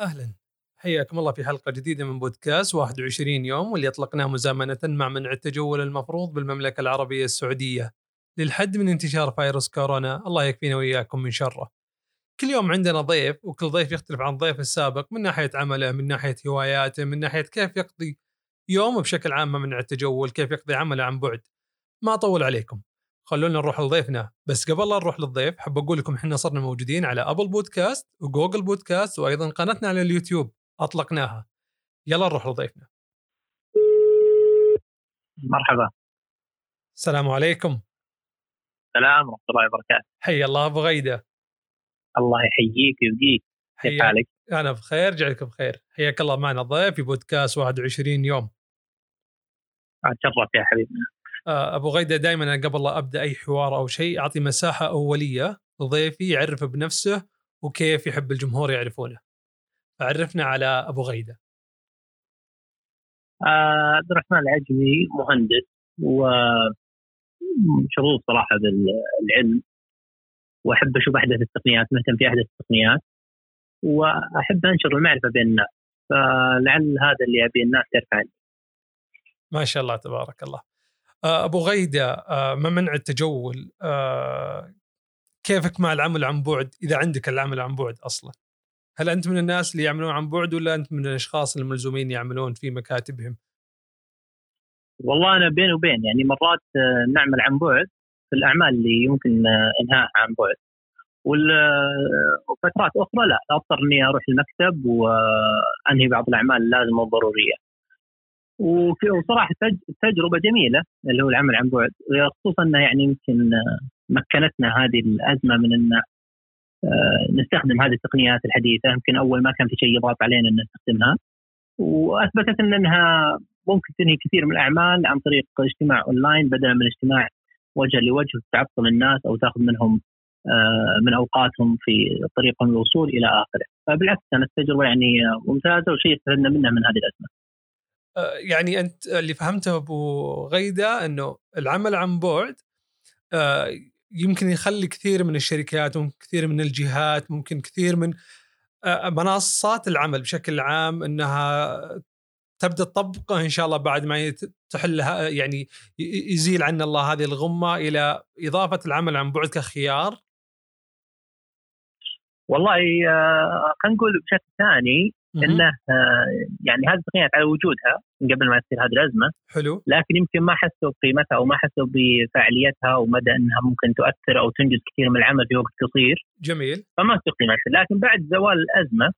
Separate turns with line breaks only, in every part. اهلا حياكم الله في حلقه جديده من بودكاست 21 يوم واللي اطلقناه مزامنه مع منع التجول المفروض بالمملكه العربيه السعوديه للحد من انتشار فيروس كورونا الله يكفينا واياكم من شره. كل يوم عندنا ضيف وكل ضيف يختلف عن ضيف السابق من ناحيه عمله، من ناحيه هواياته، من ناحيه كيف يقضي يومه بشكل عام مع منع التجول، كيف يقضي عمله عن بعد. ما اطول عليكم. خلونا نروح لضيفنا بس قبل لا نروح للضيف حاب اقول لكم احنا صرنا موجودين على ابل بودكاست وجوجل بودكاست وايضا قناتنا على اليوتيوب اطلقناها يلا نروح لضيفنا
مرحبا
السلام عليكم
سلام ورحمه الله وبركاته
حي الله ابو غيده
الله يحييك ويبقيك كيف
حياك
حالك؟
انا بخير جعلك بخير حياك الله معنا ضيف في بودكاست 21 يوم
اتشرف يا حبيبنا
آه، ابو غيده دائما قبل لا ابدا اي حوار او شيء اعطي مساحه اوليه لضيفي يعرف بنفسه وكيف يحب الجمهور يعرفونه فعرفنا على ابو غيده
آه، عبد الرحمن العجمي مهندس ومشغول صراحه بالعلم واحب اشوف احدث التقنيات مهتم في احدث التقنيات واحب انشر المعرفه بين الناس فلعل هذا اللي ابي الناس تعرف عني
ما شاء الله تبارك الله آه، ابو غيده آه، ما منع التجول آه، كيفك مع العمل عن بعد اذا عندك العمل عن بعد اصلا هل انت من الناس اللي يعملون عن بعد ولا انت من الاشخاص الملزومين يعملون في مكاتبهم
والله انا بين وبين يعني مرات آه، نعمل عن بعد في الاعمال اللي يمكن آه، انهائها عن بعد وال- آه، وفترات اخرى لا اضطر اني اروح المكتب وانهي بعض الاعمال اللازمه والضروريه. وك- وصراحه تج- تجربه جميله اللي هو العمل عن بعد خصوصا انه يعني يمكن آه، مكنتنا هذه الازمه من ان آه، نستخدم هذه التقنيات الحديثه يمكن اول ما كان في شيء يضغط علينا ان نستخدمها واثبتت ان انها ممكن تنهي كثير من الاعمال عن طريق اجتماع اونلاين بدلا من اجتماع وجها لوجه تعطل الناس او تاخذ منهم آه، من اوقاتهم في طريقهم للوصول الى اخره، فبالعكس كانت تجربه يعني آه، ممتازه وشيء استفدنا منه من هذه الازمه.
آه، يعني انت اللي فهمته ابو غيده انه العمل عن بعد آه، يمكن يخلي كثير من الشركات وممكن كثير من الجهات ممكن كثير من آه، منصات العمل بشكل عام انها تبدا تطبقه ان شاء الله بعد ما يت- تحل ه- يعني ي- يزيل عنا الله هذه الغمه الى اضافه العمل عن بعد كخيار
والله آه، خلينا نقول بشكل ثاني
مهم.
انه آه، يعني هذه التقنيات على وجودها من قبل ما تصير هذه الازمه،
حلو
لكن يمكن ما حسوا بقيمتها او ما حسوا بفاعليتها ومدى انها ممكن تؤثر او تنجز كثير من العمل في وقت قصير.
جميل
فما في قيمتها لكن بعد زوال الازمه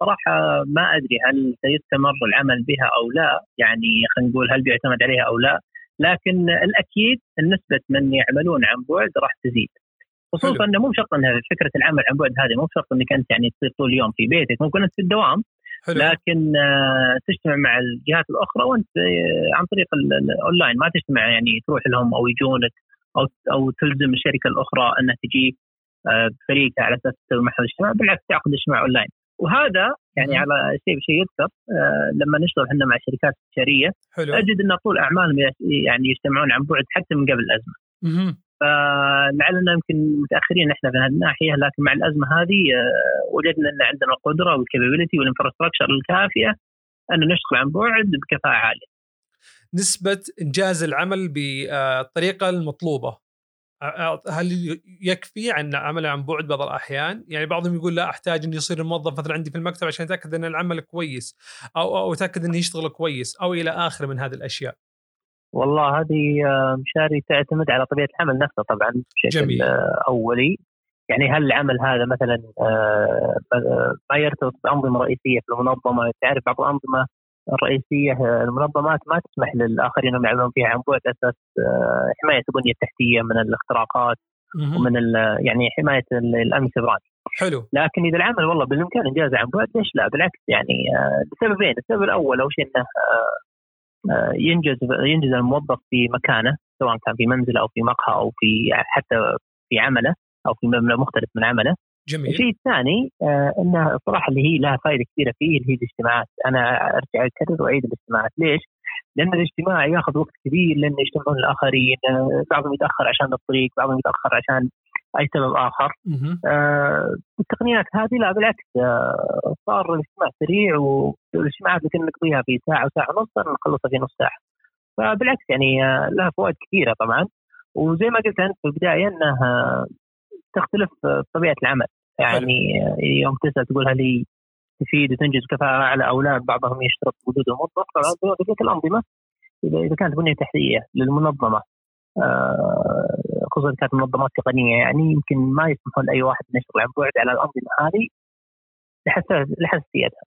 صراحه ما ادري هل سيستمر العمل بها او لا يعني خلينا نقول هل بيعتمد عليها او لا لكن الاكيد نسبه من يعملون عن بعد راح تزيد
حلو.
خصوصا انه مو شرط انها فكره العمل عن بعد هذه مو شرط انك انت يعني تصير طول اليوم في بيتك ممكن انت في الدوام
حلو
لكن آه، تجتمع مع الجهات الاخرى وانت آه، عن طريق ال- ال- الاونلاين ما تجتمع يعني تروح لهم او يجونك او او تلزم الشركه الاخرى انها تجيك آه، بفريقها على اساس تسوي محل اجتماع بالعكس تعقد اجتماع اونلاين وهذا يعني
مم.
على شيء بشيء يذكر آه، لما نشتغل احنا مع شركات استشاريه
حلو
اجد ان طول اعمالهم ي- يعني يجتمعون عن بعد حتى من قبل الازمه
مهم.
فلعلنا يمكن متاخرين احنا في هذه الناحيه لكن مع الازمه هذه آه، وجدنا ان عندنا القدره والكابابيلتي والانفراستراكشر الكافيه ان نشتغل عن بعد بكفاءه عاليه
نسبه انجاز العمل بالطريقه المطلوبه آه، هل يكفي عن عمل عن بعد بعض الاحيان؟ يعني بعضهم يقول لا احتاج اني يصير الموظف مثلا عندي في المكتب عشان اتاكد ان العمل كويس او او اتاكد انه يشتغل كويس او الى اخره من هذه الاشياء.
والله هذه آه، مشاري تعتمد على طبيعه العمل نفسه طبعا بشكل
جميل.
آه، اولي يعني هل العمل هذا مثلا آه، آه، ما يرتبط بانظمه رئيسيه في المنظمه تعرف بعض الانظمه الرئيسيه آه، المنظمات ما تسمح للاخرين انهم يعملون فيها عن بعد على اساس آه، حمايه البنيه التحتيه من الاختراقات
مهم.
ومن ال- يعني حمايه ال- الامن السيبراني
حلو
لكن اذا العمل والله بالامكان انجازه عن بعد ليش لا بالعكس يعني آه، لسببين السبب الاول اول شيء انه آه، آه، ينجز ينجز الموظف في مكانه سواء كان في منزله او في مقهى او في حتى في عمله او في مبنى مختلف من عمله
جميل
الشيء الثاني آه، انه الصراحه اللي هي لها فائده كبيره فيه اللي هي الاجتماعات، انا ارجع اكرر واعيد الاجتماعات، ليش؟ لان الاجتماع ياخذ وقت كبير لانه يجتمعون الاخرين، آه، بعضهم يتاخر عشان الطريق، بعضهم يتاخر عشان اي سبب اخر
مهم.
آه، التقنيات هذه لا بالعكس آه، صار الاجتماع سريع والاجتماعات اللي كنا نقضيها في ساعه وساعه ونص صرنا نخلصها في نص ساعه فبالعكس يعني آه، لها فوائد كثيره طبعا وزي ما قلت انت في البدايه انها تختلف آه، طبيعه العمل يعني آه، يوم تسال تقول هل هي تفيد وتنجز كفاءه اعلى او لا بعضهم يشترط وجود الموظف طبعا زي ما قلت لك الانظمه اذا اذا كانت بنيه تحتيه للمنظمه آه، خصوصا إذا كانت منظمات تقنيه يعني يمكن ما يسمحون لاي واحد انه يشتغل عن بعد على الانظمه هذه لحساس- لحساسيتها.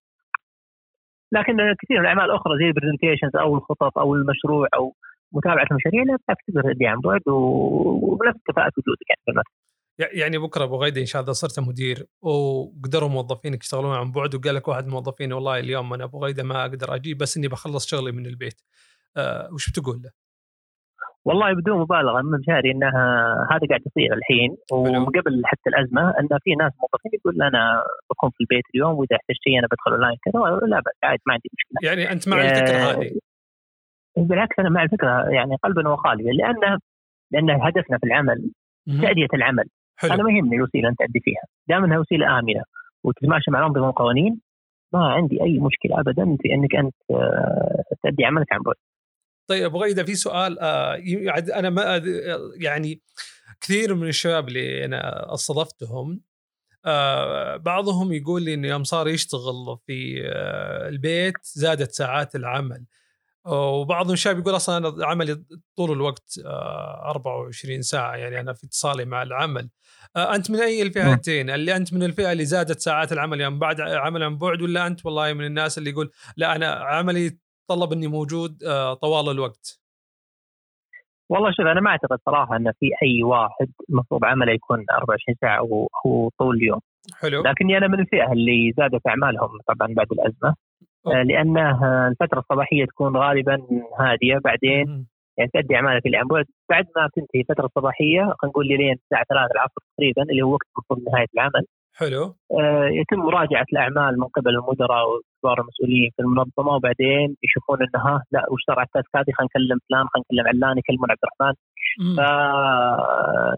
لكن كثير من الاعمال الاخرى زي البرزنتيشنز او الخطط او المشروع او متابعه المشاريع لا بالعكس تقدر تدي عن بعد و- وبنفس كفاءه وجودك يعني في المكتب.
ي- يعني بكره ابو غيدي ان شاء الله اذا صرت مدير وقدروا موظفينك يشتغلون عن بعد وقال لك واحد من موظفين والله اليوم انا ابو غيده ما اقدر اجي بس اني بخلص شغلي من البيت آه وش بتقول له؟
والله بدون مبالغه من مشاري انها هذا قاعد يصير الحين وقبل حتى الازمه ان في ناس موظفين يقول انا بكون في البيت اليوم واذا احتجت شيء انا بدخل اونلاين كذا لا بأس عادي ما عندي مشكله.
يعني انت مع الفكره
آه،
هذه
بالعكس انا مع الفكره يعني قلبا وقالبا لان لان هدفنا في العمل
مهم.
تاديه العمل انا
حلو
ما يهمني الوسيله انت تأدي فيها دام انها وسيله امنه وتتماشى مع الانظمه والقوانين ما عندي اي مشكله ابدا في انك انت آه، تأدي عملك عن بعد
طيب ابو غيده في سؤال آه ي- عاد انا ما أد- يعني كثير من الشباب اللي انا استضفتهم آه بعضهم يقول لي انه يوم صار يشتغل في آه البيت زادت ساعات العمل وبعض الشباب يقول اصلا انا عملي طول الوقت آه، 24 ساعه يعني انا في اتصالي مع العمل آه، انت من اي الفئتين اللي انت من الفئه اللي زادت ساعات العمل يعني بعد عمل عن بعد ولا انت والله من الناس اللي يقول لا انا عملي يتطلب اني موجود آه، طوال الوقت
والله شوف انا ما اعتقد صراحه ان في اي واحد المفروض عمله يكون 24 ساعه و- هو طول اليوم
حلو
لكني انا من الفئه اللي زادت اعمالهم طبعا بعد الازمه آه، لان آه، الفتره الصباحيه تكون غالبا هاديه بعدين
مم.
يعني تأدي أعمالك اللي عن بعد بعد ما تنتهي الفترة الصباحية خلينا نقول لي لين الساعة 3 العصر تقريبا اللي هو وقت المفروض نهاية العمل
حلو
آه، يتم مراجعة الأعمال من قبل المدراء وكبار المسؤولين في المنظمة وبعدين يشوفون أنها لا وش صار على التاسك هذه خلينا نكلم فلان خلينا نكلم علان يكلمون عبد الرحمن
مم.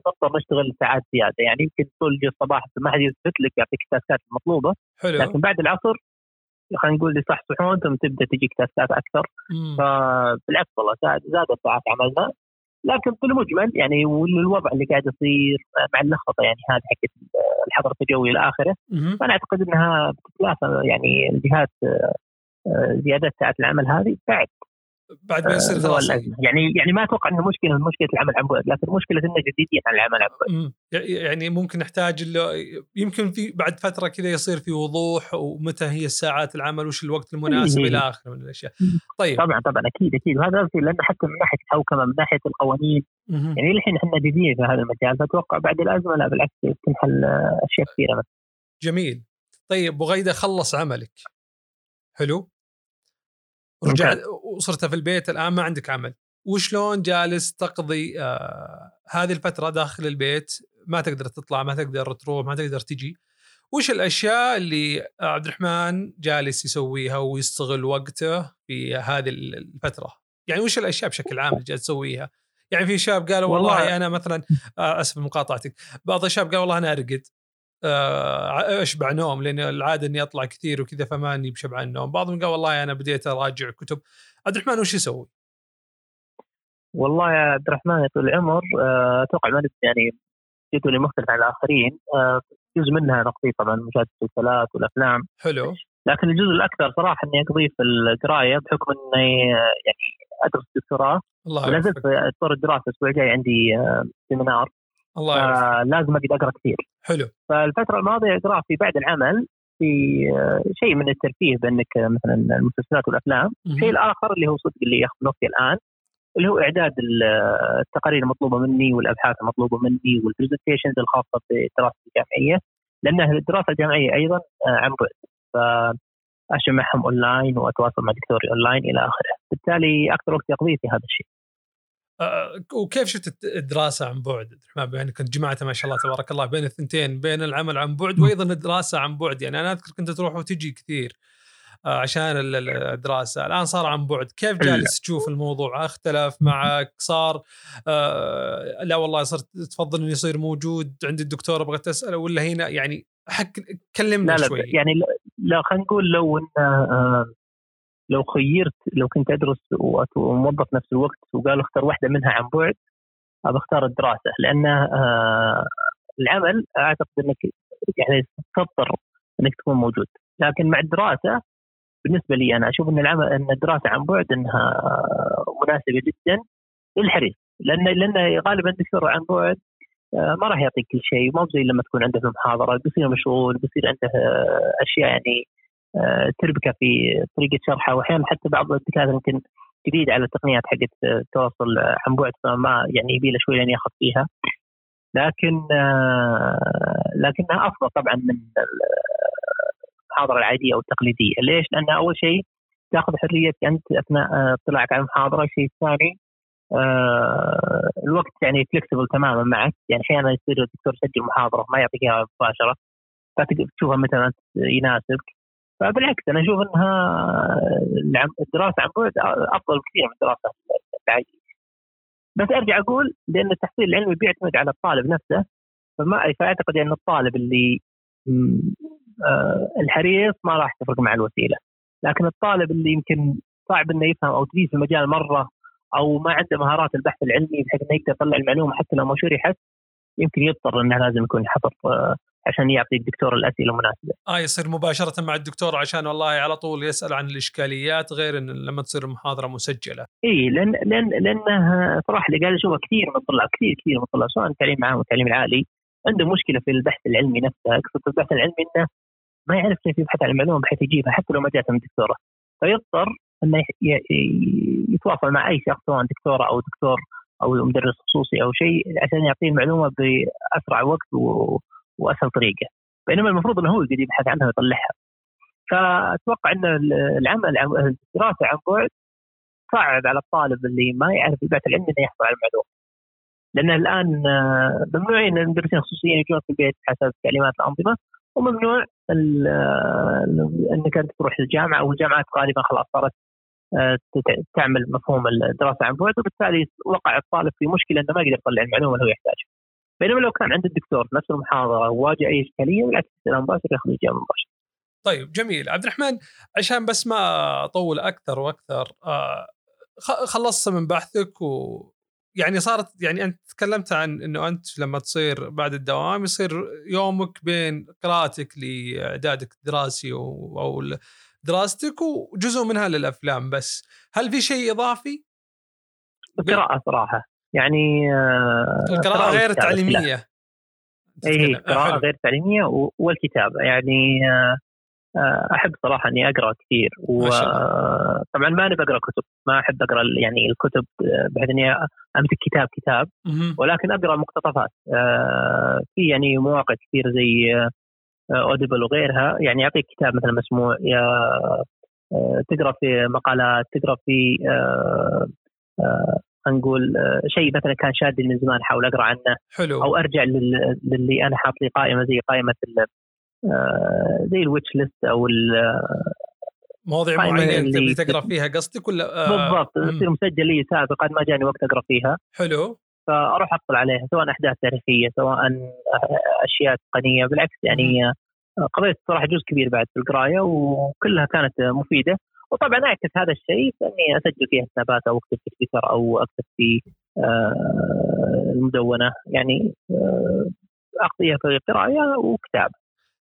فنضطر نشتغل ساعات زيادة يعني يمكن طول الصباح ما حد يثبت لك يعطيك التاسكات المطلوبة
حلو
لكن بعد العصر خلينا نقول يصحصحون ثم تبدا تجيك تاسكات اكثر
مم.
فبالعكس والله زاد- زادت ساعات عملنا لكن في المجمل يعني والوضع اللي قاعد يصير مع اللخبطه يعني هذه حقت الحظر التجوي الى اخره
مم.
فانا اعتقد انها بتتلافى يعني الجهات آه، آه، زياده ساعات العمل هذه بعد
بعد
آه،
ما يصير
زوال
دراسي
الازمه يعني يعني ما اتوقع انه مشكله من مشكله العمل عن بعد لكن مشكله انه جديدين عن العمل عن بعد
مم. يعني ممكن نحتاج ال- يمكن في بعد فتره كذا يصير في وضوح ومتى هي ساعات العمل وش الوقت المناسب
إيه.
الى اخره من الاشياء
مم.
طيب
طبعا طبعا اكيد اكيد وهذا قصدي لان حتى من ناحيه الحوكمه من ناحيه القوانين
مهم.
يعني الحين احنا جديدين في هذا المجال فاتوقع بعد الازمه لا بالعكس تنحل آه، اشياء كثيره
جميل طيب أبو غيدة خلص عملك حلو
ممتاز.
رجعت وصرت في البيت الان ما عندك عمل وشلون جالس تقضي آه هذه الفتره داخل البيت ما تقدر تطلع ما تقدر تروح ما تقدر تجي وش الاشياء اللي عبد الرحمن جالس يسويها ويستغل وقته في هذه الفتره يعني وش الاشياء بشكل عام اللي جالس تسويها يعني في شاب قالوا والله, والله
والله-
انا مثلا آه، اسف لمقاطعتك بعض الشباب قال والله انا ارقد آه، اشبع نوم لان العاده اني اطلع كثير وكذا فماني بشبعان نوم، بعضهم قال والله انا بديت اراجع كتب، عبد الرحمن وش يسوي؟
والله يا عبد الرحمن يا طويل العمر آه، اتوقع ما نبت- يعني جدولي مختلف عن الاخرين آه، جزء منها نقضيه طبعا مشاهده المسلسلات والافلام
حلو
لكن الجزء الاكثر صراحه اني اقضيه في القرايه بحكم اني آه، يعني ادرس دكتوراه
الله
ولا
يوفقك
زلت طور الدراسه الاسبوع الجاي عندي آه، سيمينار
الله
آه،
يوفقك
فلازم اقعد اقرا كثير
حلو
فالفتره الماضيه قراءه في بعد العمل في آه، شيء من الترفيه بانك آه، مثلا المسلسلات والافلام الشيء
مهم.
الاخر اللي هو صدق اللي ياخذ وقتي الان اللي هو اعداد ال- التقارير المطلوبه مني والابحاث المطلوبه مني والبرزنتيشنز الخاصه بالدراسه الجامعيه لان الدراسه الجامعيه ايضا آه، عن بعد فاجمعهم اونلاين واتواصل مع دكتوري اونلاين الى اخره بالتالي اكثر وقت يقضيه في هذا الشيء
آه، وكيف شفت الت- الدراسه عن بعد؟ عبد الرحمن بما انك جمعتها ما شاء الله تبارك الله بين الثنتين بين العمل عن بعد وايضا الدراسه عن بعد يعني انا اذكر كنت تروح وتجي كثير. عشان الدراسه الان صار عن بعد كيف جالس تشوف الموضوع اختلف معك صار آه لا والله صرت تفضل انه يصير موجود عند الدكتور ابغى تساله ولا هنا يعني حك كلمنا
لا لا
شوي
يعني لا, لا خلينا نقول لو ان آه، لو خيرت لو كنت ادرس وأت- وموظف نفس الوقت وقالوا اختار واحده منها عن بعد ابى اختار الدراسه لان آه، العمل اعتقد انك يعني تضطر انك تكون موجود لكن مع الدراسه بالنسبه لي انا اشوف ان العمل ان الدراسه عن بعد آه، انها مناسبه جدا للحريف لان لان غالبا الدكتور عن بعد آه، ما راح يعطيك كل شيء مو زي لما تكون عنده محاضره بيصير مشغول بيصير عنده آه، اشياء يعني آه، تربكه في طريقه شرحه واحيانا حتى بعض الدكاتره يمكن جديد على التقنيات حقت آه، التواصل عن بعد فما يعني يبي له شوي لين ياخذ فيها لكن آه، لكنها افضل طبعا من المحاضره العاديه او التقليديه، ليش؟ لان اول شيء تاخذ حريتك انت اثناء آه، اطلاعك على المحاضره، الشيء الثاني آه، الوقت يعني فلكسبل تماما معك يعني احيانا يصير الدكتور يسجل محاضره ما يعطيك اياها مباشره فتشوفها متى ما ت- يناسبك فبالعكس انا اشوف انها العم- الدراسه عن بعد افضل بكثير من الدراسه العاديه بس ارجع اقول لان التحصيل العلمي بيعتمد على الطالب نفسه فما فاعتقد ان الطالب اللي م، آه، الحريص ما راح تفرق مع الوسيله لكن الطالب اللي يمكن صعب انه يفهم او تجيه في المجال مره او ما عنده مهارات البحث العلمي بحيث انه يقدر يطلع المعلومه حتى لو ما شرحت يمكن يضطر انه لازم يكون حفظ آه، عشان يعطي الدكتور الاسئله المناسبه.
اه يصير مباشره مع الدكتور عشان والله على طول يسال عن الاشكاليات غير ان لما تصير المحاضره مسجله
اي لان لان لانه صراحه اللي قاعد اشوفه كثير من الطلاب كثير كثير من الطلاب سواء التعليم العام والتعليم العالي عنده مشكله في البحث العلمي نفسه، اقصد في البحث العلمي انه ما يعرف كيف يبحث عن المعلومه بحيث يجيبها حتى لو ما جاته من دكتوره. فيضطر انه يح- ي- يتواصل مع اي شخص سواء دكتوره او دكتور او مدرس خصوصي او شيء عشان يعطيه المعلومه باسرع وقت و... واسهل طريقه. بينما المفروض انه هو اللي يبحث عنها ويطلعها. فاتوقع ان ال- العمل عن- الدراسه عن بعد صعب على الطالب اللي ما يعرف البحث العلمي انه يحصل على المعلومه. لان الان آه، ممنوع ان المدرسين الخصوصيين يجون في البيت حسب تعليمات الانظمه وممنوع ال- آه، انك انت تروح الجامعه والجامعات غالبا خلاص صارت آه، تت- تعمل مفهوم الدراسه عن بعد وبالتالي وقع الطالب في مشكله انه ما يقدر يطلع المعلومه اللي هو يحتاجها. بينما لو كان عند الدكتور في نفس المحاضره وواجه اي اشكاليه بالعكس يسأله مباشر ياخذ الاجابه مباشره.
طيب جميل عبد الرحمن عشان بس ما اطول اكثر واكثر آه، خ- خلصت من بحثك و يعني صارت يعني انت تكلمت عن انه انت لما تصير بعد الدوام يصير يومك بين قراءتك لاعدادك الدراسي و- او ال- دراستك وجزء منها للافلام بس هل في شيء اضافي؟
القراءه صراحه يعني آه،
القراءه غير
والكتابة. لا.
التعليميه
اي
تتكلم. آه،
إيه، قراءة
حلو.
غير تعليمية و- والكتابة يعني آه، آه، أحب صراحة إني أقرأ كثير
ما شاء الله.
وطبعا ما أنا بقرأ كتب ما أحب أقرأ ال- يعني الكتب آه، بحيث إني أمسك كتاب كتاب
مهم.
ولكن أقرأ مقتطفات آه، في يعني مواقع كثير زي أوديبل وغيرها يعني يعطيك كتاب مثلا مسموع يا- آه، تقرأ في مقالات تقرأ في آه، آه، خلينا نقول آه، شيء مثلا كان شادني من زمان احاول اقرا عنه
حلو
او ارجع لل- للي انا حاط لي قائمه زي قائمه ال- آه، زي الويتش ليست او ال-
مواضيع
قائمة
معينه
اللي-
تبي تقرا فيها قصدك ولا آه،
بالضبط
مم.
تصير مسجل لي سابقا ما جاني وقت اقرا فيها
حلو
فاروح اطلع عليها سواء احداث تاريخيه سواء آه، اشياء تقنيه بالعكس يعني آه، قضيت صراحه جزء كبير بعد في القرايه وكلها كانت آه، مفيده وطبعا اعكس هذا الشيء باني اسجل فيها سنابات او اكتب في تويتر او اكتب في آه، المدونه يعني آه، اقضيها في قرايه وكتاب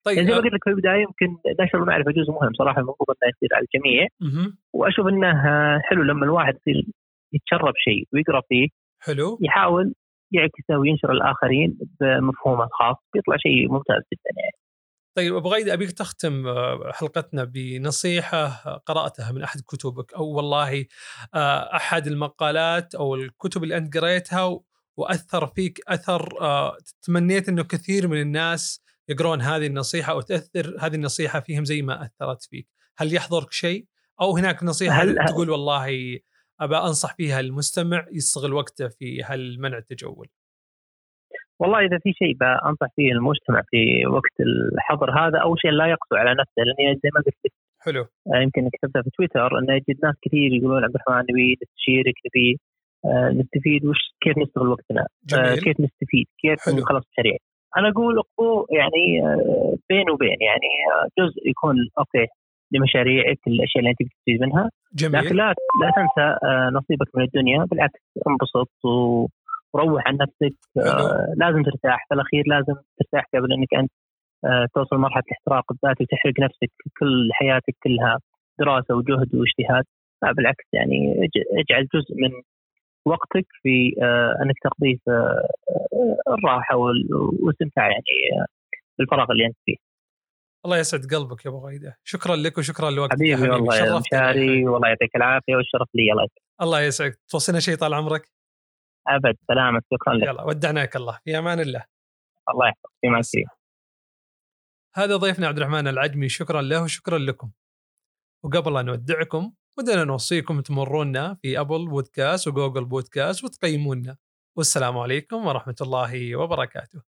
طيب
يعني زي ما
آه،
قلت لك في البدايه يمكن نشر المعرفه جزء مهم صراحه المفروض انه يصير على الجميع
مهم.
واشوف انه آه، حلو لما الواحد يصير يتشرب شيء ويقرا فيه
حلو
يحاول يعكسه وينشر الاخرين بمفهومه الخاص بيطلع شيء ممتاز جدا يعني
طيب ابو غيد ابيك تختم آه، حلقتنا بنصيحه آه، قراتها من احد كتبك او والله آه، احد المقالات او الكتب اللي انت قريتها و- واثر فيك اثر آه، تمنيت انه كثير من الناس يقرون هذه النصيحه وتاثر هذه النصيحه فيهم زي ما اثرت فيك، هل يحضرك شيء؟ او هناك نصيحه
هل-
هل تقول والله ابى انصح فيها المستمع يستغل وقته في هالمنع التجول.
والله اذا في شيء بنصح فيه المجتمع في وقت الحظر هذا اول شيء لا يقسو على نفسه لاني يعني زي ما قلت لك آه،
حلو
يمكن كتبتها في تويتر انه يجد ناس كثير يقولون عبد الرحمن نبي نستشيرك نبي آه، نستفيد وش كيف نستغل وقتنا آه،
جميل
كيف نستفيد كيف
حلو.
نخلص مشاريع انا اقول اقبو يعني آه، بين وبين يعني آه، جزء يكون اوكي لمشاريعك الاشياء اللي انت بتستفيد منها لكن
جميل
لا لا تنسى آه، نصيبك من الدنيا بالعكس انبسط و- وروح عن نفسك آه، لازم ترتاح في الاخير لازم ترتاح قبل انك انت آه، توصل مرحله الاحتراق الذاتي وتحرق نفسك في كل حياتك كلها دراسه وجهد واجتهاد لا بالعكس يعني اج- اجعل جزء من وقتك في آه، انك تقضيه في آه، الراحه وال- والاستمتاع يعني آه، بالفراغ اللي انت فيه
الله يسعد قلبك يا ابو غيده شكرا لك وشكرا لوقتك يا
حبيبي والله يا
شرفتنا يا
مشاري
حبيبي.
والله يعطيك العافيه والشرف لي الله يسعدك
الله يسعدك توصينا شيء طال عمرك
ابد سلامك شكرا لك
يلا ودعناك الله في امان الله
الله يحفظك في معك
هذا ضيفنا عبد الرحمن العجمي شكرا له وشكرا لكم وقبل أن نودعكم ودنا نوصيكم تمرونا في أبل بودكاست وجوجل بودكاست وتقيمونا والسلام عليكم ورحمة الله وبركاته